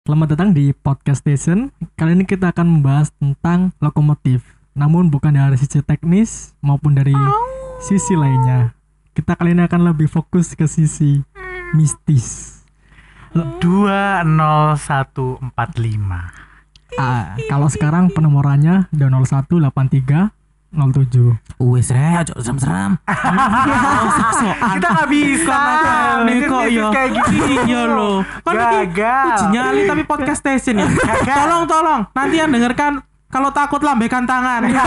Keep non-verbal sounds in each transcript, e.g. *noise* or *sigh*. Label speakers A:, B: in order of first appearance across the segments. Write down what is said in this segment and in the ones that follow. A: Selamat datang di Podcast Station. Kali ini kita akan membahas tentang lokomotif. Namun bukan dari sisi teknis maupun dari sisi lainnya. Kita kali ini akan lebih fokus ke sisi mistis.
B: dua nol satu empat lima
A: Ah, kalau sekarang penomorannya ada 0183 07.
C: Wes re, ojo serem-serem.
B: kita nggak bisa
C: Ini Ah, kok
B: Bisnis-bisnis
C: ya.
B: kayak gini
C: *laughs* Iya loh. Kan iki
B: gagal
C: uji nyali tapi podcast station ya. Tolong tolong, nanti yang dengarkan kalau takut lambekan tangan.
B: Iya.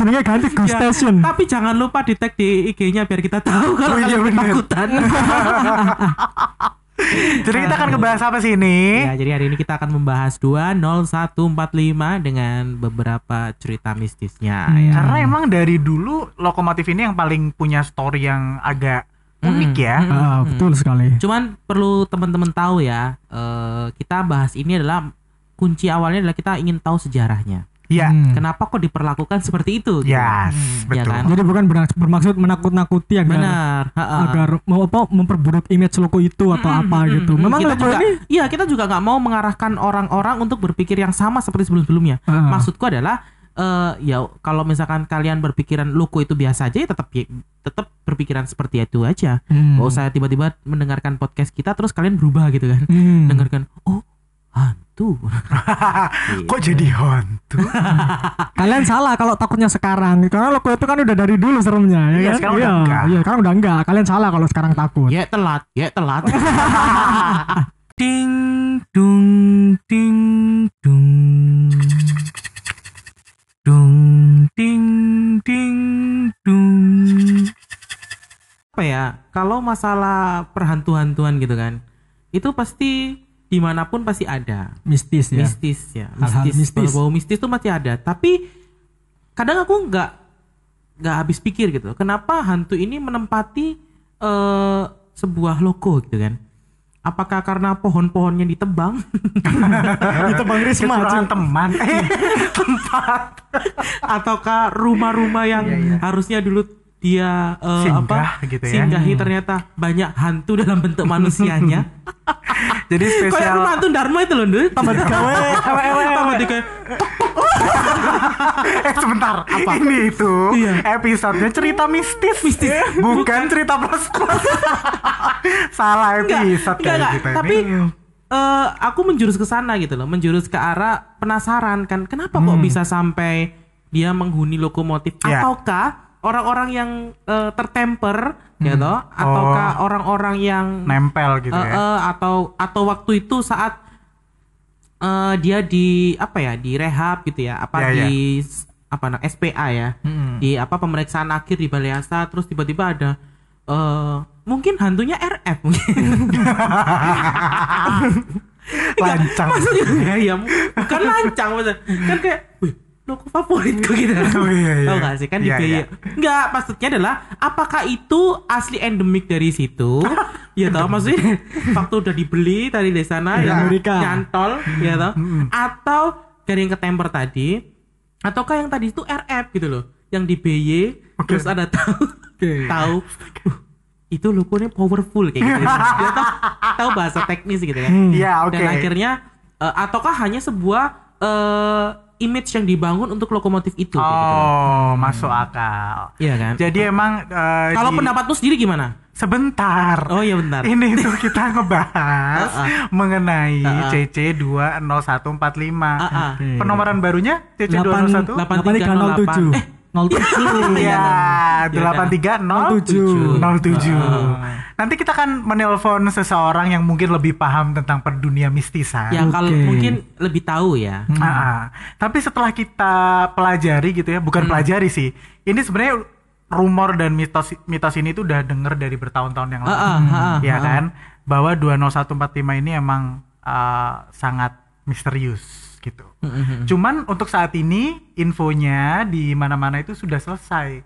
A: Jenenge ganti Ghost
C: Ya,
A: Station.
C: Tapi jangan lupa di tag di IG-nya biar kita tahu kalau
B: Oh, iya,
C: kalian
B: bener.
C: ketakutan.
B: jadi kita akan ngebahas apa sih ini
C: ya, jadi hari ini kita akan membahas 20145 dengan beberapa cerita mistisnya
A: Ah, iya.
C: ya.
B: karena emang dari dulu lokomotif ini yang paling punya story yang agak unik
C: Mm-mm.
B: ya
A: Ah, betul sekali.
C: Hmm. Cuman perlu teman-teman tahu ya, eh, kita bahas ini adalah kunci awalnya adalah kita ingin tahu sejarahnya.
B: ya
A: Hmm.
C: Kenapa kok diperlakukan seperti itu? gitu.
B: yes
C: Iya
B: betul
C: kan?
A: Jadi bukan bernak- bermaksud menakut-nakuti agar
C: Benar. ha-ha.
A: agar mau apa memperburuk image loko itu atau apa gitu.
C: Mm-mm.
A: Memang
C: Hmm, kita
A: loko
C: juga,
A: ini
C: iya kita juga nggak mau mengarahkan orang-orang untuk berpikir yang sama seperti sebelum-sebelumnya.
A: Ah.
C: Maksudku adalah eh, ya kalau misalkan kalian berpikiran loko itu biasa aja, ya tetap tetap berpikiran seperti itu aja.
A: Hmm.
C: Nggak usah tiba-tiba mendengarkan podcast kita terus kalian berubah gitu kan?
A: Hmm.
C: Dengarkan, oh hantu.
B: kok jadi
C: Iya. *laughs*
B: hantu
A: Kalian salah kalau takutnya sekarang. Karena loko itu kan udah dari dulu seremnya ya
B: Iya,
A: kan?
B: sekarang
A: iya,
B: udah enggak.
A: iya, sekarang udah enggak. Kalian salah kalau sekarang takut.
C: Ya telat, ya telat. ding dung ding dung. Dung ding ding dung. Apa ya? Kalau masalah perhantu-hantuan gitu kan. Itu pasti dimanapun pasti ada.
A: Mistis ya.
C: Mistis ya,
A: Hal-hal mistis.
C: mistis. Bau-bau mistis tuh masih ada, tapi kadang aku nggak nggak habis pikir gitu. Kenapa hantu ini menempati eh sebuah loko gitu kan? Apakah karena pohon-pohonnya ditebang? *laughs*
A: itu Bang Risma.
B: kekurangan
A: cuy.
B: teman
C: Iya.
B: Eh, tempat
C: ataukah rumah-rumah yang
B: Iya, iya.
C: harusnya dulu dia eh,
B: Singgah
C: apa
B: gitu ya.
C: singgahi ternyata banyak hantu dalam bentuk manusianya.
B: jadi
C: Kayak
B: *laughs*
C: rumah
B: spesial
C: hantu Dharma itu loh, Ndut. *laughs* Tambah digawe, tambah digawe.
B: eh sebentar ini itu episodenya cerita mistis
C: Iya. Mistis.
B: bukan cerita plus plus *laughs* salah episode
C: enggak,
B: kayak
C: enggak.
B: kita
C: tapi
B: ini
C: eh, aku menjurus ke sana gitu loh menjurus ke arah penasaran kan kenapa kok
B: Hmm.
C: bisa sampai dia menghuni lokomotif
B: Ya.
C: ataukah orang-orang yang eh, tertemper gitu ataukah orang-orang yang
B: nempel Hmm. Oh. gitu
C: eh,
B: ya *laughs*
C: eh, atau atau waktu itu saat eh, dia di apa ya di rehab gitu ya apa
B: Ya, ya.
C: di s- apa na- SPA ya
B: Hmm.
C: di apa pemeriksaan akhir di Baleasa terus tiba-tiba ada eh mungkin hantunya RF
B: *laughs*
C: mungkin
B: lancang
C: maksudnya ya, ya bukan lancang maksudnya kan kayak wih loko favoritku gitu
B: *laughs* Oh, iya, iya.
C: tau gak sih kan di
B: Iya, iya.
C: biaya enggak maksudnya adalah apakah itu asli endemik dari
B: *laughs*
C: situ ya tau maksudnya waktu udah dibeli dari dari
B: Iya,
C: sana
A: Dari
C: ya
A: Amerika.
C: nyantol ya tau atau dari yang ketemper tadi ataukah yang tadi itu RF gitu loh yang di BY terus ada tahu tahu uh, itu lokonya powerful kayak
B: *laughs*
C: gitu Dia tahu, tahu bahasa teknis gitu ya
B: Iya, oke.
C: dan akhirnya eh, ataukah hanya sebuah eh, image yang dibangun untuk lokomotif itu kayak gitu loh.
B: oh masuk akal
C: Iya kan?
B: jadi emang eh,
C: kalau
B: di-
C: pendapatmu sendiri gimana
B: sebentar
C: oh iya bentar
B: ini tuh kita *laughs* ngebahas
C: Ah, ah.
B: mengenai
C: Ah, ah.
B: CC 20145
C: Ah, ah.
B: penomoran barunya CC 201
C: delapan-
A: 8307.
C: Eh.
A: 07.
B: Iya,
C: Iya,
B: 8307. 07. Nanti kita akan menelpon seseorang yang mungkin lebih paham tentang perdunia mistisan.
C: ya kalau
A: Oke.
C: mungkin lebih tahu ya
B: Ah, ah. Tapi setelah kita pelajari gitu ya,
C: Hmm.
B: bukan pelajari sih. Ini sebenarnya rumor dan mitos mitos ini tuh udah denger dari bertahun-tahun yang
C: Ah,
B: lalu.
C: ah, ah, ah,
B: ya
C: ah.
B: kan? Bahwa 20145 ini emang ah, sangat misterius gitu. Cuman untuk saat ini infonya di mana-mana itu sudah selesai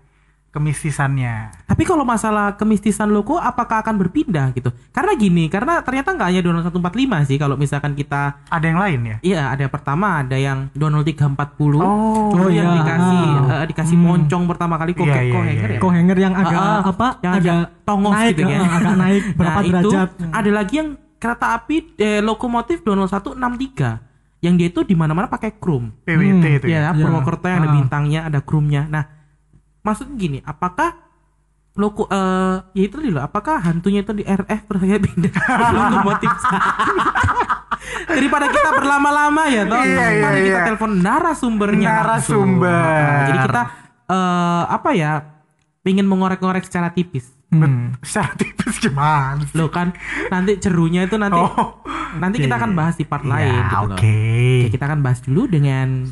B: kemistisannya.
C: Tapi kalau masalah kemistisan loko apakah akan berpindah gitu? Karena gini, karena ternyata nggak hanya 2145 sih kalau misalkan kita
B: Ada yang lain ya?
C: Iya, ada yang pertama ada yang 20340.
B: Oh, Hmm.
C: Terus
A: oh
C: yang
A: iya.
C: dikasih
A: Ah.
C: eh, dikasih moncong pertama kali kok
B: Iya, iya,
C: hanger
B: iya.
C: ya.
A: Kohanger yang agak
C: Ah, ah,
A: apa?
C: yang
A: agak
C: agak tongos
A: naik,
C: gitu ya. *laughs*
A: ah, agak naik berapa
C: Nah, itu
A: derajat?
C: ada lagi yang kereta api eh, lokomotif 20163 yang dia itu di mana-mana pakai chrome.
B: PWT
A: Hmm,
B: itu
A: Ya.
B: ya.
C: Ya, Purwokerto yang ada
A: Ah.
C: bintangnya, ada krumnya. Nah, maksud gini, apakah loko eh ya itu tadi loh, apakah hantunya itu di RF terus saya pindah ke lokomotif?
B: *laughs*
C: Daripada kita berlama-lama ya, toh.
B: Iya, iya,
C: Mari kita
B: iya.
C: telepon narasumbernya. langsung.
B: Narasumber.
C: Nah, jadi kita eh apa ya? Pingin mengorek-ngorek secara tipis.
A: Hmm.
B: Saat tipis gimana? sih?
C: Loh kan nanti jerunya itu nanti
B: Oh,
C: nanti kita akan bahas di part lain
B: ya,
C: gitu loh.
B: oke.
C: Oke, kita akan bahas dulu dengan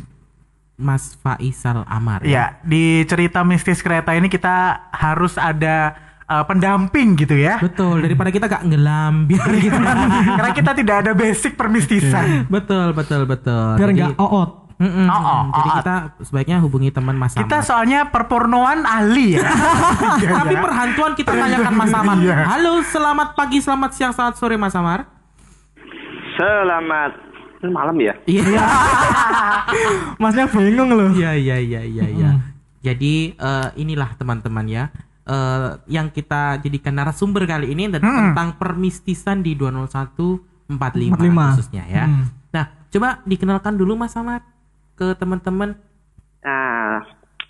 C: Mas Faisal
A: Iya.
C: Amar.
B: Ya, di cerita mistis kereta ini kita harus ada uh, pendamping gitu ya.
C: Betul, daripada kita gak ngelam biar
B: *laughs*
C: gitu.
B: Karena kita tidak ada basic
A: Iya.
B: permistisan.
C: betul, betul, betul.
A: biar
C: Jadi-
A: nggak oot
C: Mm-mm,
B: Oh, oh,
C: Jadi
B: oh.
C: kita sebaiknya hubungi teman Mas
B: Kita
C: Amar.
B: soalnya perpornoan ahli
A: *laughs*
B: ya. Iya,
C: Tapi
B: ya.
C: perhantuan kita tanyakan
B: *laughs*
C: Mas Amar.
B: Iya.
C: Halo, selamat pagi, selamat siang, selamat sore Mas Amar.
D: Selamat ini malam ya.
C: Iya.
A: masnya bingung loh
C: Iya, iya, iya, iya, iya. Jadi eh, inilah teman-teman ya. eh, yang kita jadikan narasumber kali ini tet-
B: Mm-mm.
C: tentang permistisan di 20145
A: 45.
C: khususnya ya.
A: Hmm.
C: Nah, coba dikenalkan dulu Mas Amar ke teman-teman
D: Nah,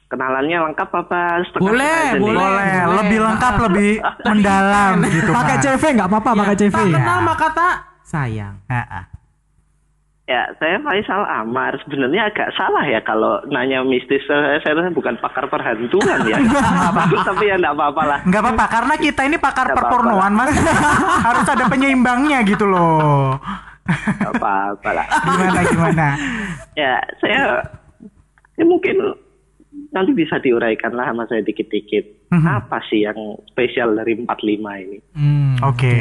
D: kenalannya lengkap apa? Setengah
C: Boleh,
D: setengah aja nih?
B: boleh,
C: boleh.
B: lebih lengkap, lebih mendalam gitu.
A: pakai
B: Mas.
A: CV nggak apa-apa pakai CV
C: Tak
B: Iya.
C: kenal maka tak sayang.
B: Ah, ah.
D: Ya, saya Faisal Amar. Sebenarnya agak salah ya kalau nanya mistis. Saya, saya bukan pakar perhantuan ya. Tapi ya enggak apa-apa lah.
B: Nggak apa-apa, karena kita ini pakar
D: Nggak
B: perpornoan, Mas. *laughs* Harus ada penyeimbangnya gitu loh. *laughs*
D: Nggak apa-apa lah.
B: Gimana gimana?
D: Ya, saya ya mungkin nanti bisa diuraikan lah sama saya dikit-dikit.
B: Mhm.
D: Apa sih yang spesial dari 45 ini?
A: Hmm.
B: Oke.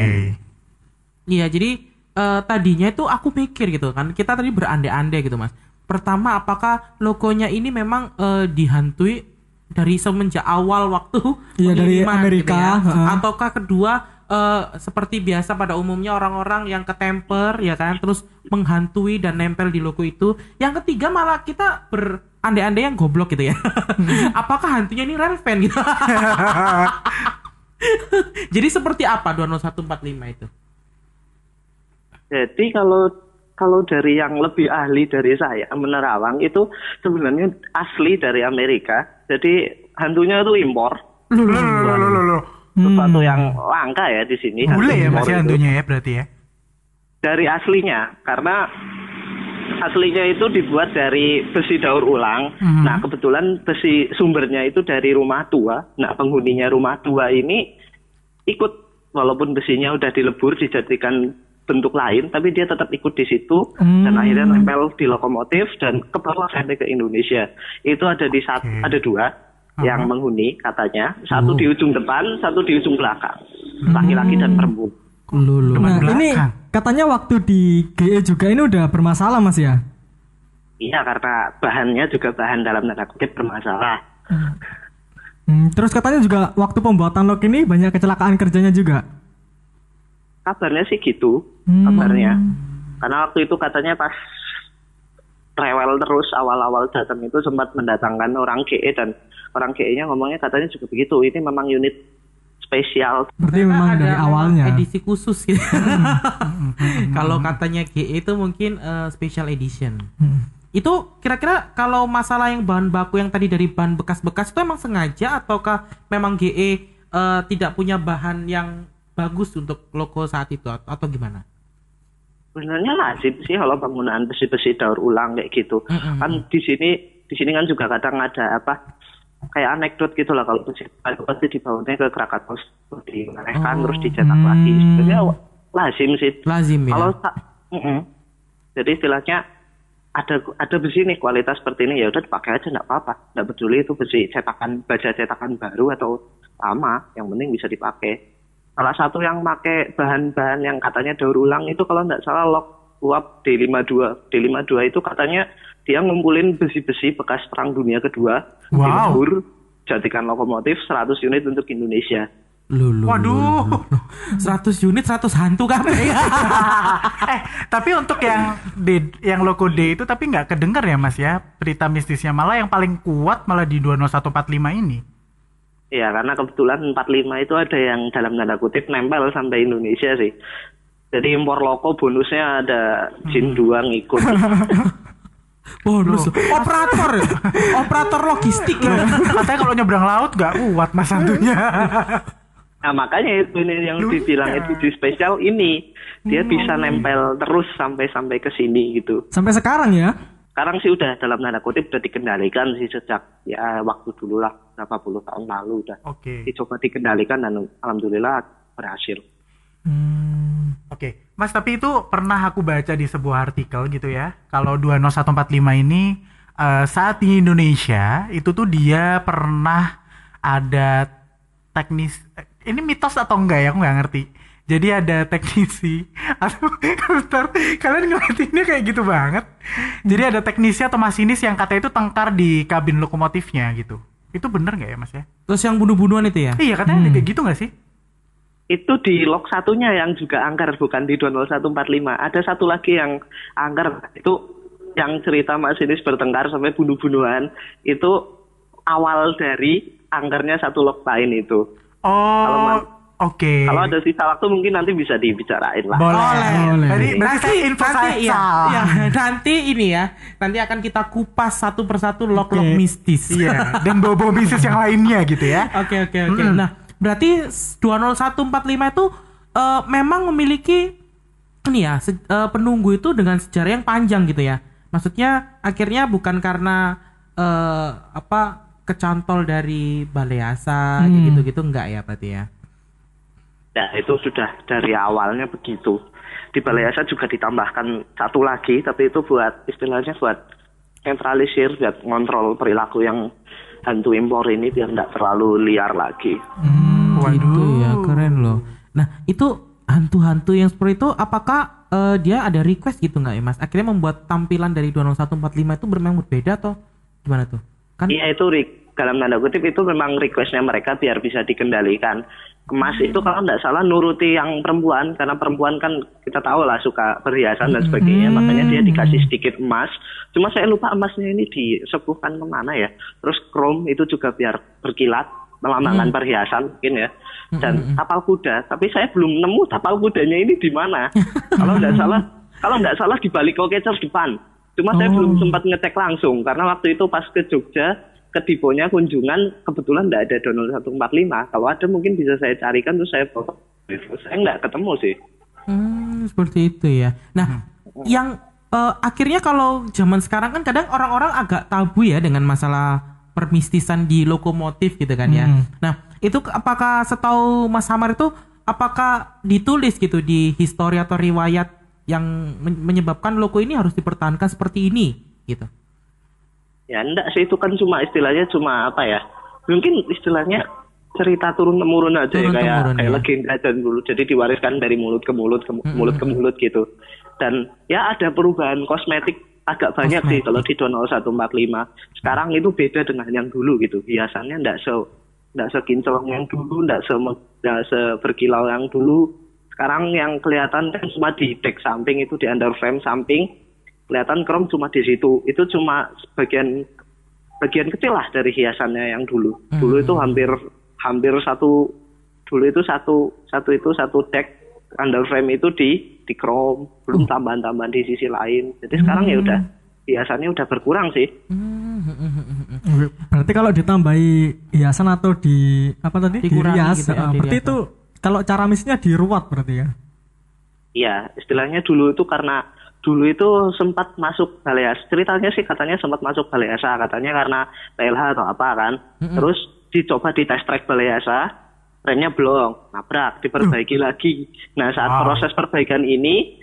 C: Iya, jadi eh, tadinya itu aku pikir gitu kan. Kita tadi berandai-andai gitu, Mas. Pertama, apakah logonya ini memang eh, dihantui dari semenjak awal waktu *laughs*
A: Iya, dari
C: pengiriman gitu ya?
A: Amerika, heeh.
C: Ataukah kedua eh, seperti biasa pada umumnya orang-orang yang ketemper ya kan terus menghantui dan nempel di logo itu. Yang ketiga malah kita berandai-andai yang goblok gitu ya.
A: Hmm.
C: *laughs* apakah hantunya ini relevan
A: *laughs*
C: gitu? *laughs* Jadi seperti apa 20145 itu?
D: Jadi kalau kalau dari yang lebih ahli dari saya menerawang itu sebenarnya asli dari Amerika. Jadi hantunya itu impor,
B: Loh, loh, loh, loh, loh, loh.
D: sesuatu yang langka ya di sini. hantu
B: Hmm. Bule ya
D: impor
B: Mas ya
D: itu.
B: hantunya ya berarti ya.
D: Dari aslinya, karena aslinya itu dibuat dari besi daur ulang. Nah kebetulan besi sumbernya itu dari rumah tua. Nah penghuninya rumah tua ini ikut walaupun besinya udah dilebur dijadikan bentuk lain, tapi dia tetap ikut di situ dan akhirnya nempel di lokomotif dan ke bawah sampai ke Indonesia. Itu ada di satu, ada dua yang menghuni katanya, satu di ujung depan, satu di ujung belakang, laki-laki dan perempuan.
A: Nah,
B: belakang.
A: ini katanya waktu di GE juga ini udah bermasalah Mas ya?
D: Iya karena bahannya juga bahan dalam tanda kutip bermasalah.
A: Hmm, terus katanya juga waktu pembuatan log ini banyak kecelakaan kerjanya juga.
D: Kabarnya sih gitu, kabarnya. Karena waktu itu katanya pas rewel terus awal-awal datang itu sempat mendatangkan orang GE dan orang GE-nya ngomongnya katanya juga begitu. Ini memang unit spesial.
A: Berarti memang
C: Ada
A: dari
C: memang
A: awalnya. Hmm,
C: edisi khusus gitu.
A: *laughs*
C: kalau katanya GE itu mungkin eh, special edition.
A: Hmm,
C: Itu kira-kira kalau masalah yang bahan baku yang tadi dari bahan bekas-bekas itu emang sengaja ataukah memang GE eh, tidak punya bahan yang bagus untuk logo saat itu at- atau gimana?
D: Sebenarnya lazim sih kalau penggunaan besi-besi daur ulang kayak gitu. Kan di sini di sini kan juga kadang ada apa kayak anekdot gitu lah kalau besi itu pasti dibawanya ke Krakatau diremehkan terus dicetak lagi. Sebenarnya lazim sih.
C: Lazim ya.
D: Kalau tak, Mm-mm. jadi istilahnya ada ada besi nih kualitas seperti ini ya udah dipakai aja nggak apa-apa, nggak peduli itu besi cetakan baja cetakan baru atau lama, yang penting bisa dipakai. Salah satu yang pakai bahan-bahan yang katanya daur ulang itu kalau nggak salah log uap D52. D52 itu katanya dia ngumpulin besi-besi bekas perang dunia kedua,
B: Wow.
D: dilebur, jadikan lokomotif 100 unit untuk Indonesia.
C: Lulu.
B: Waduh.
C: 100 unit 100 hantu
A: *laughs*
C: kan.
B: eh tapi untuk yang D, yang loko D itu tapi nggak kedengar ya mas ya berita mistisnya malah yang paling kuat malah di 20145 ini *laughs*
D: Iya, karena kebetulan 45 itu ada yang dalam tanda kutip nempel sampai Indonesia sih. Jadi impor loko bonusnya ada jin dua ngikut.
C: Bonus. Operator. ya? Operator logistik ya.
B: Katanya kalau nyebrang laut gak kuat mas Santunya.
D: Nah makanya itu ini yang dibilang itu di spesial ini dia bisa nempel terus sampai sampai ke sini gitu.
A: Sampai sekarang ya.
D: Sekarang sih udah dalam tanda kutip udah dikendalikan sih sejak ya waktu dulu lah berapa puluh tahun lalu udah
B: Oke.
D: dicoba dikendalikan dan alhamdulillah berhasil.
B: Oke, Mas tapi itu pernah aku baca di sebuah artikel gitu ya. Kalau 20145 ini eh, saat di Indonesia itu tuh dia pernah ada teknis eh, ini mitos atau enggak ya aku nggak ngerti. Jadi ada teknisi *laughs* atau ntar kalian ngeliatinnya kayak gitu banget. Jadi ada teknisi atau masinis yang katanya itu tengkar di kabin lokomotifnya gitu. Itu bener nggak ya Mas ya?
C: Terus yang bunuh-bunuhan itu ya?
B: Iya katanya ada
D: Hmm.
B: kayak gitu nggak sih?
D: Itu di log satunya yang juga angker bukan di 20145. Ada satu lagi yang angker itu yang cerita Mas Inis bertengkar sampai bunuh-bunuhan itu awal dari angkernya satu log lain itu. Kalau
B: Oh,
D: man-
B: oke.
D: Kalau ada sisa waktu mungkin nanti bisa dibicarain lah.
B: boleh. iya.
A: Boleh.
B: Jadi berarti saya info saya
C: nanti, ya,
B: salah.
C: ya, *laughs* nanti ini ya, nanti akan kita kupas satu persatu lok-lok
A: Oke.
C: mistis.
B: Iya. Dan bobo bisnis yang lainnya gitu ya.
C: Oke oke oke. Nah, berarti 20145 itu eh, memang memiliki ini ya, se- eh, penunggu itu dengan sejarah yang panjang gitu ya. Maksudnya akhirnya bukan karena eh, apa kecantol dari Baleasa gitu-gitu enggak ya berarti ya.
D: Nah, itu sudah dari awalnya begitu. Di Balai Asa juga ditambahkan satu lagi, tapi itu buat istilahnya buat sentralisir, buat ngontrol perilaku yang hantu impor ini biar nggak terlalu liar lagi.
B: Waduh.
C: Gitu ya, keren loh. Nah, itu hantu-hantu yang seperti itu apakah eh, dia ada request gitu nggak ya Mas? Akhirnya membuat tampilan dari 20145 itu memang berbeda atau gimana tuh? Kan
D: Iya itu re- dalam tanda kutip itu memang requestnya mereka biar bisa dikendalikan. Kemas itu kalau nggak salah nuruti yang perempuan karena perempuan kan kita tahu lah suka perhiasan dan sebagainya makanya dia dikasih sedikit emas. Cuma saya lupa emasnya ini disepuhkan kemana ya. Terus chrome itu juga biar berkilat melambangkan perhiasan mungkin ya. Dan tapal kuda tapi saya belum nemu tapal kudanya ini di mana. kalau nggak salah kalau nggak salah di balik kokecer depan. Cuma saya
C: Oh.
D: belum sempat ngecek langsung karena waktu itu pas ke Jogja ke diponya kunjungan kebetulan nggak ada donor 145. Kalau ada mungkin bisa saya carikan terus saya foto. Saya nggak ketemu sih.
C: Hmm, seperti itu ya. Nah, yang eh, akhirnya kalau zaman sekarang kan kadang orang-orang agak tabu ya dengan masalah permistisan di lokomotif gitu kan ya. Nah, itu ke- apakah setahu Mas Hamar itu apakah ditulis gitu di histori atau riwayat yang men- menyebabkan loko ini harus dipertahankan seperti ini gitu.
D: Ya enggak sih itu kan cuma istilahnya cuma apa ya? Mungkin istilahnya cerita turun temurun aja ya, kayak
C: Turun-temurun,
D: kayak
C: ya.
D: legenda dan dulu jadi diwariskan dari mulut ke mulut ke mu- mulut ke mulut gitu. Dan ya ada perubahan kosmetik agak banyak sih kalau di Donald 145. Sekarang itu beda dengan yang dulu gitu. Hiasannya enggak se enggak sekinclong yang dulu, enggak se enggak seberkilau yang dulu. Sekarang yang kelihatan kan cuma di tag samping itu di under frame samping kelihatan krom cuma di situ. Itu cuma sebagian bagian kecil lah dari hiasannya yang dulu. Dulu itu hampir hampir satu dulu itu satu satu itu satu deck under frame itu di di chrome belum tambahan-tambahan di sisi lain. Jadi sekarang ya udah hiasannya udah berkurang sih.
C: Hmm.
A: Berarti kalau ditambahi hiasan atau di apa tadi?
C: Dikurangi
A: Dirias.
C: gitu ya,
A: ah, berarti
C: dirias.
A: itu kalau cara misnya diruat berarti ya.
D: Iya, istilahnya dulu itu karena dulu itu sempat masuk balai asa. Ceritanya sih katanya sempat masuk balai asa, katanya karena PLH atau apa kan. Terus dicoba di test track balai asa, remnya blong, nabrak, diperbaiki lagi. Nah, saat
B: Wow.
D: proses perbaikan ini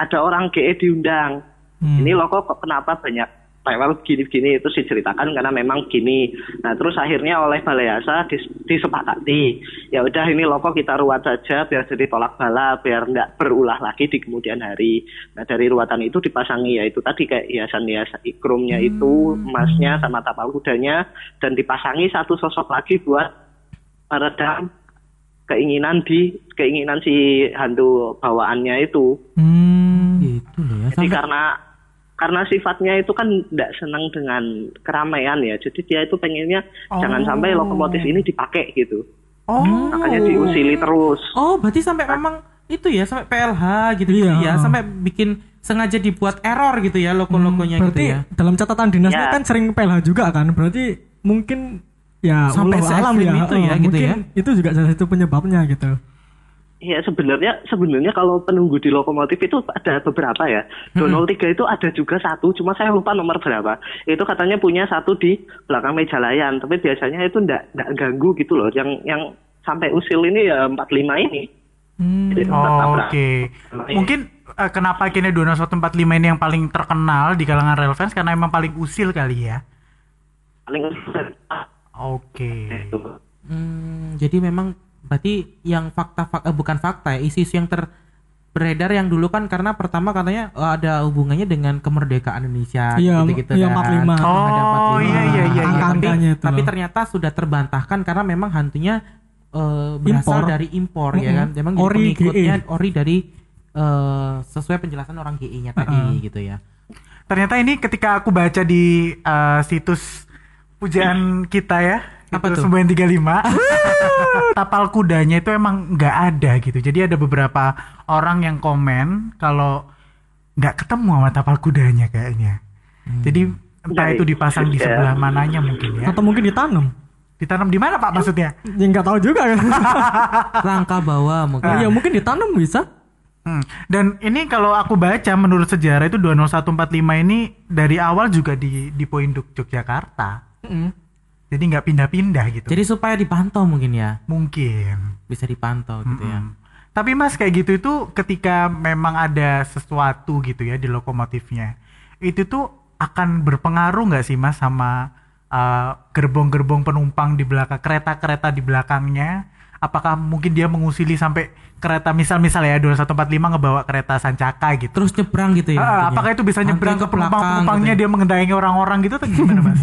D: ada orang GE diundang. Ini loko kok kenapa banyak rewel gini-gini itu diceritakan karena memang gini. Nah terus akhirnya oleh Balai Asa dis- disepakati, ya udah ini loko kita ruat saja biar jadi tolak bala, biar nggak berulah lagi di kemudian hari. Nah dari ruatan itu dipasangi ya itu tadi kayak hiasan-hiasan ikromnya itu, emasnya sama tapal kudanya, dan dipasangi satu sosok lagi buat meredam keinginan di keinginan si hantu bawaannya itu.
A: Hmm.
C: Gitu loh ya.
D: Jadi
C: Sampai-
D: karena karena sifatnya itu kan tidak senang dengan keramaian ya, jadi dia itu pengennya jangan sampai lokomotif ini dipakai gitu,
B: Oh.
D: makanya diusili terus.
C: Oh, berarti sampai memang itu ya sampai PLH gitu, gitu
A: Iya.
C: ya sampai bikin sengaja dibuat error gitu ya logo-logonya gitu
A: berarti
C: ya.
A: dalam catatan dinasnya
D: Ya.
A: kan sering PLH juga kan berarti mungkin ya
C: Sampai
A: wallahu
C: se-ekstrim itu ya,
A: eh,
C: gitu
A: mungkin
C: ya.
A: itu juga salah satu penyebabnya gitu
D: Ya sebenarnya sebenarnya kalau penunggu di lokomotif itu ada beberapa ya.
B: Hmm.
D: Donald 3 itu ada juga satu, cuma saya lupa nomor berapa. Itu katanya punya satu di belakang meja layan, tapi biasanya itu ndak ndak ganggu gitu loh. Yang yang sampai usil ini ya 45 ini.
C: Hmm.
D: Jadi nggak
B: Oh,
D: tabrak.
B: Oke. Mungkin eh, kenapa akhirnya Dona 145 ini yang paling terkenal di kalangan rail fans karena emang paling usil kali ya.
D: Paling
B: Oke. Nah,
D: itu.
C: Hmm, jadi memang berarti yang fakta-fakta bukan fakta ya, isu-isu yang ter beredar yang dulu kan karena pertama katanya eh, ada hubungannya dengan kemerdekaan Indonesia
A: Iya,
C: gitu-gitu
A: iya,
C: kan.
A: 45.
C: Ada
B: Oh, iya,
C: 45.
B: iya, iya, iya.
C: Tapi,
A: Angka-angkanya itu
C: tapi
A: loh.
C: ternyata sudah terbantahkan karena memang hantunya eh, berasal
A: Impor.
C: dari impor ya
A: Mm-mm.
C: kan. Memang
A: Ori E.
C: ori pengikutnya
A: GE.
C: ori dari eh, sesuai penjelasan orang GI-nya tadi gitu ya.
B: Ternyata ini ketika aku baca di eh, situs pujaan kita ya.
C: Apa
B: itu
C: tuh? *laughs*
B: 935. Tapal kudanya itu emang nggak ada gitu. Jadi ada beberapa orang yang komen kalau nggak ketemu sama tapal kudanya kayaknya.
C: Hmm.
B: Jadi entah itu dipasang di
D: Ya.
B: sebelah mananya mungkin ya.
A: atau mungkin ditanam
B: Ditanam di mana Pak maksudnya?
A: ya nggak tahu
C: *laughs*
A: juga kan
C: Rangka bawah mungkin.
A: ya mungkin ditanam bisa
B: Hmm. Dan ini kalau aku baca menurut sejarah itu 20145 ini dari awal juga di di Poinduk Yogyakarta. Jadi nggak pindah-pindah gitu.
C: Jadi supaya dipantau mungkin ya.
B: Mungkin.
C: Bisa dipantau gitu ya.
B: Hmm. Tapi Mas kayak gitu itu ketika memang ada sesuatu gitu ya di lokomotifnya. Itu tuh akan berpengaruh nggak sih Mas sama uh, gerbong-gerbong penumpang di belakang kereta-kereta di belakangnya? Apakah mungkin dia mengusili sampai kereta misal-misal ya 2145 ngebawa kereta Sancaka gitu?
C: terus nyebrang gitu ya.
B: Ah,
C: maksudnya.
B: apakah itu bisa
C: Antri
B: nyebrang ke
C: belakang
B: penumpang-penumpangnya
C: gitu
B: dia mengendangi orang-orang gitu atau gimana mas?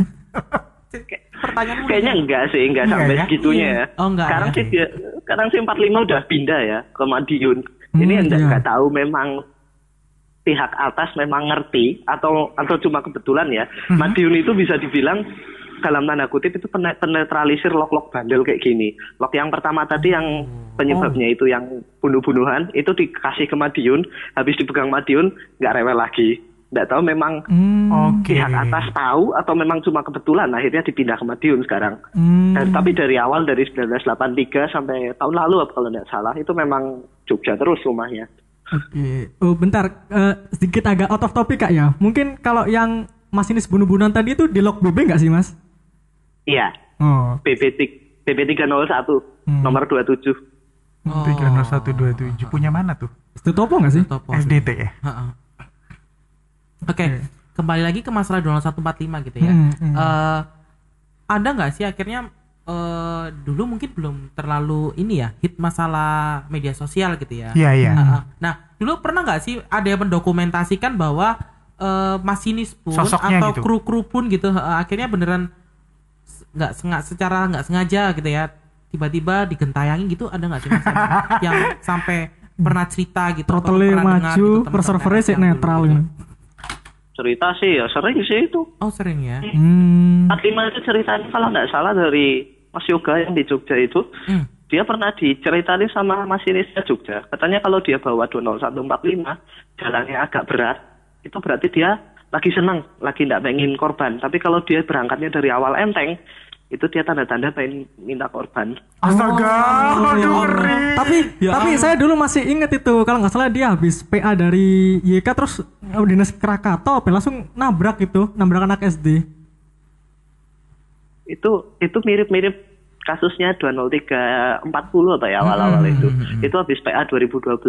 C: Pertanyaan
D: Kayaknya enggak sih, enggak
B: Enggak
D: sampai
B: ya?
D: segitunya
C: Iya.
D: ya.
C: Oh, enggak
D: Sekarang
C: ya.
D: sih dia, sekarang sih 45 udah pindah ya ke Madiun. Ini
A: Hmm,
D: enggak
A: iya.
D: enggak tahu memang pihak atas memang ngerti atau atau cuma kebetulan ya. Madiun itu bisa dibilang dalam tanda kutip itu pene- penetralisir lok-lok bandel kayak gini. Lok yang pertama tadi yang penyebabnya itu yang bunuh-bunuhan itu dikasih ke Madiun, habis dipegang Madiun nggak rewel lagi. Nggak tahu memang
C: Hmm.
B: Oke.
D: pihak atas tahu atau memang cuma kebetulan akhirnya dipindah ke Madiun sekarang.
A: Hmm.
D: Dan, Eh, tapi dari awal dari 1983 sampai tahun lalu apa kalau nggak salah itu memang Jogja terus rumahnya.
A: Oke, oh bentar, Eh, sedikit agak out of topic kak ya. Mungkin kalau yang masinis bunuh-bunuhan tadi itu di log BB nggak sih mas?
D: Iya,
A: Oh,
D: BP BP 301 nomor 27.
C: Oh.
B: 30127 punya mana tuh?
A: itu topo nggak sih?
C: Topo.
B: SDT ya.
C: Ha-ha. gitu. Oke, kembali lagi ke masalah Donald 145 gitu ya.
A: Hmm, hmm.
C: Eh, ada nggak sih akhirnya eh, dulu mungkin belum terlalu ini ya hit masalah media sosial gitu ya.
B: Iya iya.
C: Ha-ha. Nah, dulu pernah nggak sih ada yang mendokumentasikan bahwa eh, masinis pun
B: Sosoknya
C: atau
B: gitu.
C: kru-kru pun gitu eh, akhirnya beneran s- nggak sengaja secara nggak sengaja gitu ya tiba-tiba digentayangin gitu ada nggak sih Mas, *laughs* yang- yang sampai pernah cerita gitu apa
A: Throttle
C: pernah dengar
A: maju,
C: teman-teman
A: perservernya
C: RS
A: sih
C: yang dulu
A: netral
C: gitu?
A: gitu.
D: Cerita sih ya sering sih itu.
C: oh sering ya
A: Hmm.
D: 45 itu ceritanya kalau nggak salah dari Mas Yoga yang di Jogja itu
C: Hmm.
D: dia pernah diceritain sama masinisnya Jogja. Katanya kalau dia bawa 20145 jalannya agak berat, itu berarti dia lagi senang, lagi nggak pengen korban. Tapi kalau dia berangkatnya dari awal enteng, itu dia tanda-tanda pengen minta korban.
B: Astaga,
A: ya
B: aduh,
A: Allah.
B: ngeri.
A: Tapi
C: Ya
A: tapi saya dulu masih inget itu kalau nggak salah dia habis PA dari YK terus eh, dinas Krakatau, apa, langsung nabrak itu, nabrak anak SD.
D: Itu itu mirip-mirip kasusnya 20340 atau ya awal-awal itu. Itu habis PA 2012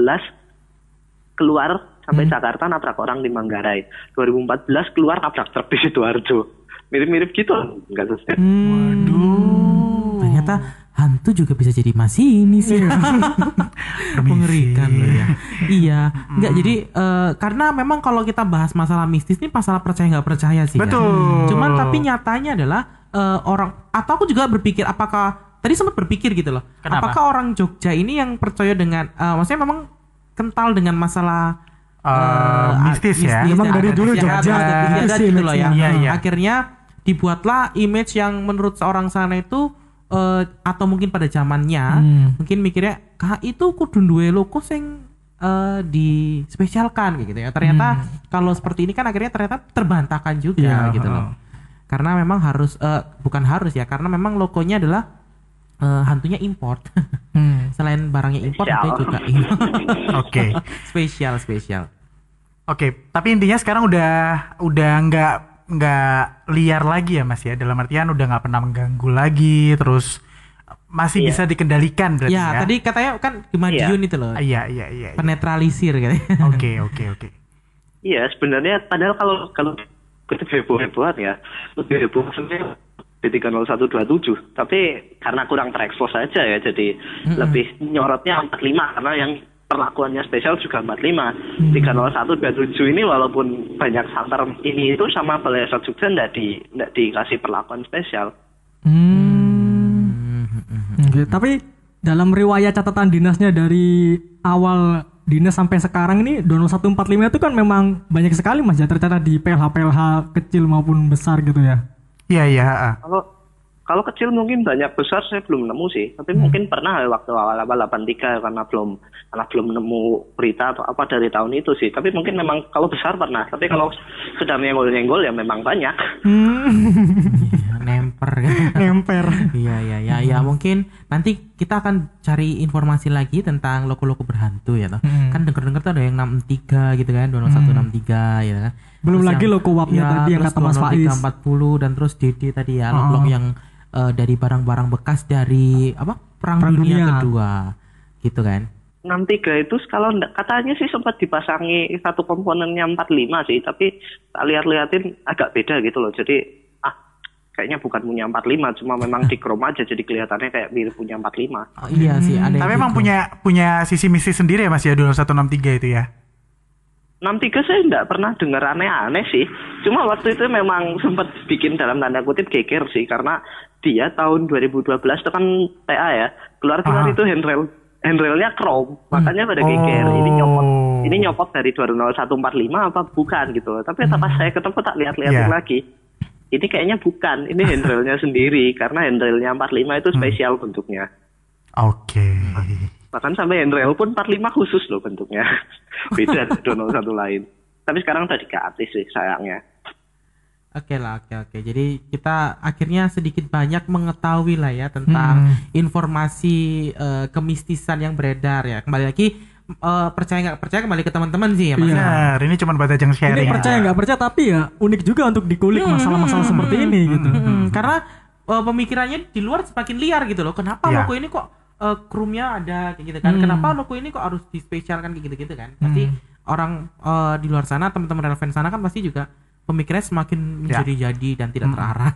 D: keluar sampai Jakarta nabrak orang di Manggarai. 2014 keluar nabrak truk di Sidoarjo. Mirip-mirip gitu kasusnya.
C: ternyata hantu juga bisa jadi masinis *laughs* ya mengerikan loh
B: *laughs*
C: ya iya nggak jadi eh, karena memang kalau kita bahas masalah mistis ini masalah percaya nggak percaya sih ya.
B: Betul.
C: cuman tapi nyatanya adalah eh, orang atau aku juga berpikir apakah tadi sempat berpikir gitu loh
B: Kenapa?
C: apakah orang Jogja ini yang percaya dengan eh, maksudnya memang kental dengan masalah
B: Eh, mistis ya.
A: Memang
C: dan
A: dari
C: ada
A: dulu
C: kesehatan,
A: Jogja
C: ada
A: gitu
C: kegiatan
A: sih
C: gitu loh ya.
B: image-nya. Iya, iya.
C: Akhirnya dibuatlah image yang menurut seorang sana itu
B: Hmm.
C: eh, atau mungkin pada zamannya mungkin mikirnya kah itu kudu duwe loko sing eh, dispesialkan kayak gitu ya. Ternyata kalau seperti ini kan akhirnya ternyata terbantahkan juga
B: Hmm. Iya,
C: gitu loh. Karena memang harus eh, bukan harus ya, karena memang logonya adalah eh, hantunya import. *laughs* Hmm. Selain barangnya import
D: Spesial.
C: hantunya juga import.
B: *laughs* Oke.
C: spesial spesial.
B: Oke, tapi intinya sekarang udah udah nggak nggak liar lagi ya Mas ya. Dalam artian udah nggak pernah mengganggu lagi, terus masih
D: Iya.
B: bisa dikendalikan berarti ya.
C: Ya, tadi katanya kan di Madiun itu loh.
B: Ah, Iya, iya, iya. iya.
C: Penetralisir
B: *laughs*
C: katanya.
B: Oke, oke, oke.
D: Iya sebenarnya padahal kalau kalau kita heboh hebohan ya lebih heboh sebenarnya di 30127 tapi karena kurang terekspos aja ya jadi lebih nyorotnya 45 karena yang perlakuannya spesial juga 45 30127 ini walaupun banyak santer ini itu sama balai Esot Jogja nggak di nggak dikasih perlakuan spesial
A: Hmm. Oke, tapi dalam riwayat catatan dinasnya dari awal dinas sampai sekarang ini Donald 145 itu kan memang banyak sekali Mas ya tercatat di PLH-PLH kecil maupun besar gitu ya.
B: Iya, iya, ah.
D: kalau kalau kecil mungkin banyak besar saya belum nemu sih tapi mungkin pernah ya waktu awal-awal 83 ya, karena belum karena belum nemu berita atau apa dari tahun itu sih tapi mungkin memang kalau besar pernah tapi kalau sudah nyenggol-nyenggol ya memang banyak
C: Iya, Nemper.
A: Emper.
C: Iya iya iya ya mungkin nanti kita akan cari informasi lagi tentang loko-loko berhantu ya toh.
A: Hmm.
C: Kan denger-denger tuh ada yang 63 gitu kan, 2163 ya kan.
A: Belum lagi loko uapnya tadi yang
C: ya, terus
A: kata Mas
C: 203,
A: Faiz.
C: 40 dan terus DD tadi ya, loko-loko yang eh, dari barang-barang bekas dari apa? Perang,
A: Perang
C: dunia,
A: dunia.
C: kedua. Gitu kan.
D: 63 itu kalau nda- katanya sih sempat dipasangi satu komponennya 45 sih tapi tak lihat-lihatin agak beda gitu loh jadi ah kayaknya bukan punya 45 cuma memang di chrome aja jadi kelihatannya kayak mirip punya 45
C: Oh, iya sih ada yang
B: Tapi emang
C: gitu.
B: punya punya sisi misi sendiri ya Mas ya 2163 itu ya.
D: 63 saya nggak pernah dengar aneh-aneh sih. Cuma waktu itu memang sempat bikin dalam tanda kutip geger sih karena dia tahun 2012 itu kan TA ya keluar keluar
B: Aha.
D: itu handrail handrailnya chrome makanya pada
B: Oh.
D: geger ini nyopot ini nyopot dari 20145 apa bukan gitu loh. tapi pas saya ketemu tak lihat-lihatin
B: Hmm. Iya.
D: lagi ini kayaknya bukan ini handrailnya sendiri karena handrailnya 45
B: Hmm.
D: itu spesial bentuknya
B: Oke.
C: Iya.
D: bahkan sampai handrail pun 45 khusus loh bentuknya beda donor satu lain tapi sekarang udah diganti sih sayangnya
C: Oke lah, oke oke. Jadi kita akhirnya sedikit banyak mengetahui lah ya tentang informasi eh, kemistisan yang beredar ya. Kembali lagi eh, percaya nggak percaya kembali ke teman-teman sih ya. Mas.
B: Benar, ini cuma batas yang
A: Ini
B: sharing.
A: percaya nggak percaya tapi ya unik juga untuk dikulik masalah-masalah seperti
C: Hmm.
A: ini gitu.
C: Mm-mm, Karena eh, pemikirannya di luar semakin liar gitu loh. Kenapa
B: Ya.
C: loko ini kok eh, krumnya ada kayak gitu kan? Kenapa loko ini kok harus dispesialkan kayak gitu-gitu kan? Pasti orang eh, di luar sana, teman-teman relevan sana kan pasti juga pemikirannya semakin
B: Ya.
C: menjadi-jadi dan tidak terarah.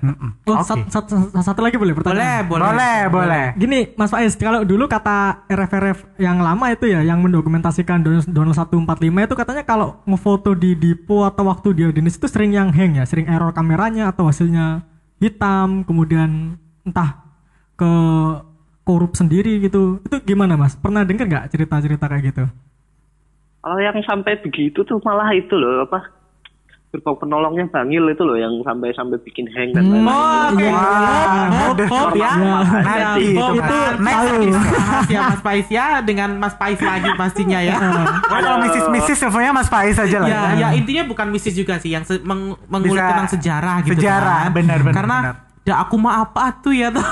B: Mm-mm.
A: Oh,
B: Oke.
A: sat- sat- sat- satu lagi boleh pertanyaan.
B: Boleh, boleh.
A: Gini Mas Faiz, kalau dulu kata RFRF yang lama itu ya yang mendokumentasikan Don- Donald 145 itu katanya kalau ngefoto di Dipo atau waktu dia dinas itu sering yang hang ya, sering error kameranya atau hasilnya hitam, kemudian entah ke korup sendiri gitu. Itu gimana Mas? Pernah denger nggak cerita-cerita kayak gitu?
D: kalau yang sampai begitu tuh malah itu loh apa gerbong penolongnya bangil itu loh yang sampai sampai bikin hang dan
C: Hmm.
D: lain-lain
B: Iya, Wah, udah
C: Hop ya.
D: Normal
B: Nanti
D: aja sih.
B: iya. itu,
C: Hop
B: Mas.
C: itu kan.
B: Next
C: tahu.
B: episode.
C: ya Mas Pais ya dengan Mas Pais lagi pastinya ya.
B: Wah, kalau misis-misis teleponnya Mas Faiz aja lah.
C: ya, ya intinya bukan mistis juga sih yang se- meng- mengulik
B: Iya. Bisa-
C: tentang sejarah gitu.
B: sejarah,
C: kan.
B: benar, benar,
C: Karena
B: benar. Hmm.
C: Da aku mah apa tuh ya tuh.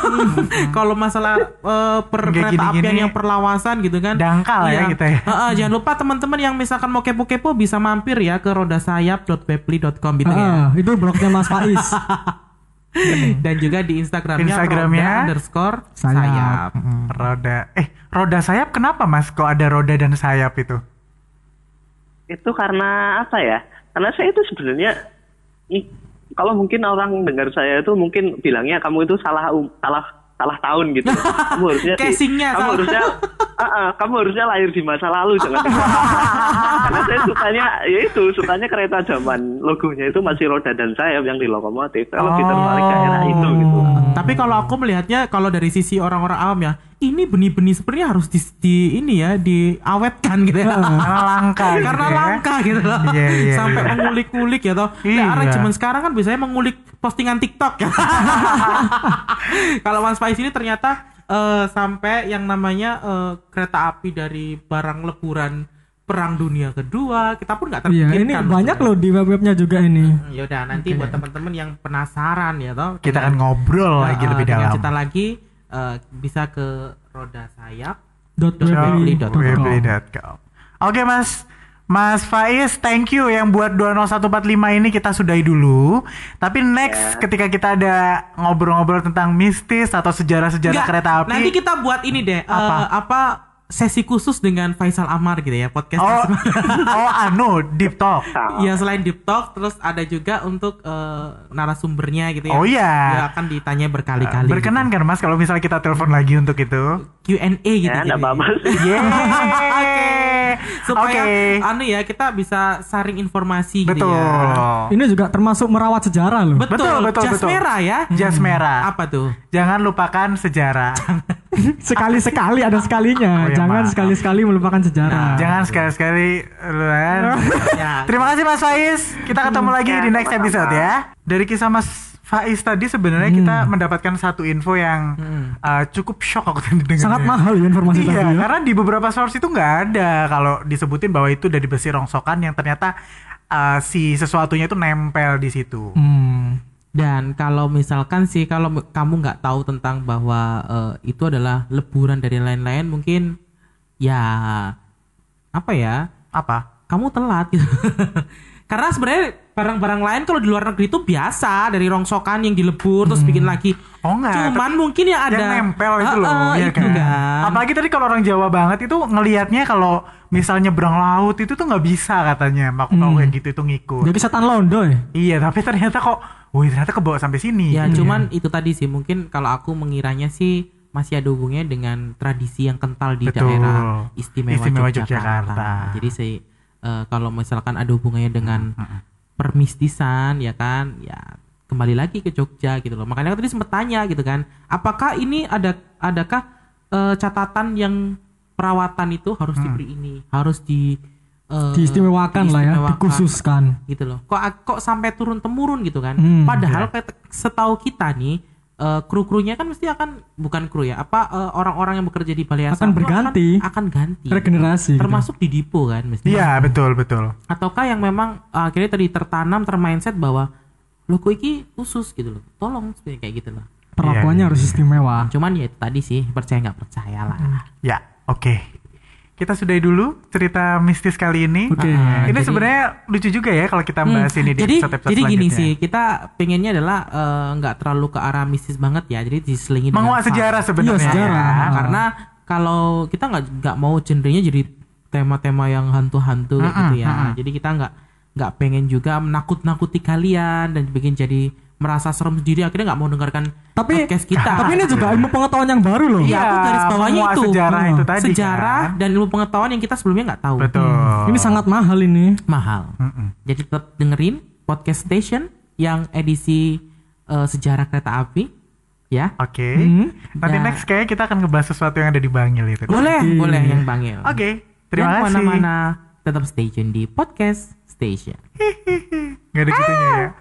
C: Kalau masalah eh, per
B: Kayak
C: kereta apian
B: gini-gini
C: yang perlawasan gitu kan.
B: dangkal ya
C: Iya.
B: kita ya.
C: Heeh, jangan lupa teman-teman yang misalkan mau kepo-kepo bisa mampir ya ke rodasayap.pepli.com gitu
A: Ah,
C: ya.
A: itu blognya Mas
C: *laughs*
A: Faiz.
C: Dan juga di Instagramnya,
B: Instagramnya?
C: roda underscore
A: Sayap.
C: sayap.
B: Roda eh roda sayap kenapa Mas kok ada roda dan sayap itu?
D: itu karena apa ya karena saya itu sebenarnya ih, kalau mungkin orang dengar saya itu mungkin bilangnya kamu itu salah um- salah salah tahun
C: *laughs*
D: gitu kamu harusnya di-
C: Casingnya
D: kamu
C: salah.
D: harusnya Ah, ah, kamu harusnya lahir di masa lalu jangan di-
C: *laughs*
D: karena saya sukanya ya itu sukanya kereta zaman logonya itu masih roda dan sayap yang di lokomotif saya lebih tertarik ke era itu gitu
C: Tapi kalau aku melihatnya kalau dari sisi orang-orang awam ya, ini benih-benih sebenarnya harus di, di- ini ya diawetkan gitu *laughs* ya.
B: Karena langka. gitu
C: Karena
B: ya.
C: langka gitu loh.
B: Iya, iya,
C: Sampai
B: iya.
C: mengulik-ulik ya toh. Nah,
B: Iya.
C: aransemen sekarang *laughs* kan biasanya mengulik postingan TikTok. kalau Mas Faiz ini ternyata eh, sampai yang namanya eh, kereta api dari barang leburan perang dunia kedua kita pun nggak
A: Iya,
C: terpikirkan
A: ini banyak
C: sebenarnya.
A: loh di web-webnya juga ini.
C: ya udah nanti buat teman-teman yang penasaran ya toh
B: Kita
C: dengan-
B: akan ngobrol Oh, lagi
C: eh,
B: lebih
C: dengan
B: dalam.
C: cerita lagi eh, bisa ke roda sayap
A: Dot webly.com.
C: Webly.com.
B: www.webly.com. Oke mas Mas Faiz, thank you yang buat 20145 ini kita sudahi dulu. Tapi
C: Ya.
B: next ketika kita ada ngobrol-ngobrol tentang mistis atau sejarah-sejarah
C: Nggak,
B: kereta api.
C: nanti kita buat ini deh eh,
B: Apa?
C: apa sesi khusus dengan Faisal Amar gitu ya podcast
B: Oh, oh anu, deep talk.
D: Sama.
C: Ya selain deep talk terus ada juga untuk eh, narasumbernya gitu ya.
B: Oh
C: Ya,
B: iya.
C: akan ditanya berkali-kali.
B: Berkenan kan mas kalau misalnya kita telepon lagi untuk
C: *laughs*
B: itu?
C: gitu. Q&A gitu.
D: ya nggak
C: jadinya.
D: apa-apa
B: Yeay.
C: Supaya
B: Oke.
C: anu ya kita bisa saring informasi gitu
B: Betul.
C: ya.
A: Ini juga termasuk merawat sejarah loh.
C: Betul.
B: Betul, betul, Hmm.
C: Jas
B: betul.
C: merah ya.
B: Jas merah.
C: Apa tuh?
B: Jangan lupakan sejarah.
A: *laughs* Sekali-sekali ada sekalinya.
B: Oh, ya,
A: Jangan
B: maaf. Nah, iya,
A: sekali-sekali melupakan sejarah.
B: Jangan sekali-sekali lu
A: *laughs*
B: kan.
C: Ya.
B: Terima kasih Mas Faiz. Kita ketemu lagi di next
D: sama-sama.
B: episode ya. Dari kisah Mas Faiz tadi sebenarnya
A: Hmm.
B: kita mendapatkan satu info yang uh, cukup shock aku tadi dengarnya.
A: Sangat mahal ya informasi
B: Iya,
A: tadi. ya.
B: karena di beberapa source itu nggak ada kalau disebutin bahwa itu dari besi rongsokan yang ternyata uh, si sesuatunya itu nempel di situ.
A: Hmm.
C: Dan kalau misalkan sih kalau m- kamu nggak tahu tentang bahwa eh, itu adalah leburan dari lain-lain mungkin ya apa ya?
B: Apa?
C: kamu telat gitu. *laughs* Karena sebenarnya barang-barang lain kalau di luar negeri itu biasa dari rongsokan yang dilebur terus bikin lagi.
B: Oh enggak.
C: Cuman mungkin yang ada
B: yang nempel itu loh,
C: Heeh,
B: ya
C: itu
B: kan?
C: kan.
B: Apalagi tadi kalau orang Jawa banget itu ngelihatnya kalau misalnya berang laut itu tuh nggak bisa katanya. Mak
C: Hmm.
B: mau kayak gitu itu ngikut.
A: Jadi setan londo ya.
B: Iya, tapi ternyata kok, wih ternyata kebawa sampai sini.
C: Ya
B: Gitu
C: cuman itu tadi sih mungkin kalau aku mengiranya sih masih ada hubungannya dengan tradisi yang kental di
B: Betul.
C: daerah istimewa,
B: Istimewa
C: Yogyakarta.
B: Yogyakarta.
C: Jadi sih eh, kalau misalkan ada hubungannya dengan permistisan ya kan ya kembali lagi ke Jogja gitu loh. Makanya aku tadi sempat tanya gitu kan, apakah ini ada adakah eh, catatan yang perawatan itu harus diberi ini, harus di eh,
A: Diistimewakan lah ya,
C: diistimewakan
A: dikhususkan.
C: gitu loh. Kok kok sampai turun temurun gitu kan?
A: Hmm,
C: Padahal ket- setahu kita nih eh, kru-krunya kan mesti akan bukan kru ya, apa eh, orang-orang yang bekerja di balai
A: Akan
C: asap itu
A: berganti.
C: akan, akan ganti.
A: Regenerasi. gitu.
C: Termasuk di Dipo kan mesti.
B: Iya, betul, betul.
C: Ataukah yang memang eh, akhirnya tadi tertanam termindset bahwa lo kok iki khusus gitu loh. Tolong sebenarnya kayak gitu loh.
A: Perlakuannya
B: Iya,
A: harus istimewa.
C: Cuman ya itu tadi sih percaya nggak percaya lah.
A: Hmm.
B: Ya, oke. Kita sudahi dulu cerita mistis kali ini. Ah,
A: Oke.
B: Ini
C: jadi-
B: sebenarnya lucu juga ya kalau kita
C: Hmm,
B: bahas ini di
C: jadi
B: episode-episode
C: jadi gini
B: selanjutnya.
C: sih kita pengennya adalah eh, nggak terlalu ke arah mistis banget ya jadi diselingi dengan
B: Menguak
C: fun.
B: sejarah sebenarnya.
A: Iya, sejarah.
B: ya.
C: Nah, karena kalau kita nggak nggak mau genrenya jadi tema-tema yang hantu-hantu kayak gitu ya. Jadi kita nggak nggak pengen juga menakut-nakuti kalian dan bikin jadi merasa serem sendiri akhirnya nggak mau dengarkan
A: Tapi
C: podcast kita.
A: tapi ini juga
B: Iya.
A: ilmu pengetahuan yang baru loh.
C: Iya, aku garis bawahnya
B: menguak
C: itu. Hmm.
B: sejarah itu tadi
C: sejarah
B: kan.
C: dan ilmu pengetahuan yang kita sebelumnya nggak tahu.
B: Betul.
A: Ini sangat mahal ini.
C: Mahal. Jadi tetap dengerin podcast station yang edisi eh, sejarah kereta api ya.
B: Oke.
A: Hmm.
B: Nanti
C: Ya.
B: next kayaknya kita akan ngebahas sesuatu yang ada di Bangil itu. Oke.
C: Boleh,
A: Oke.
C: boleh yang bangil.
B: Terima kasih.
C: Dan mana-mana tetap stay tune di podcast station.
B: Gak ada gitunya ya.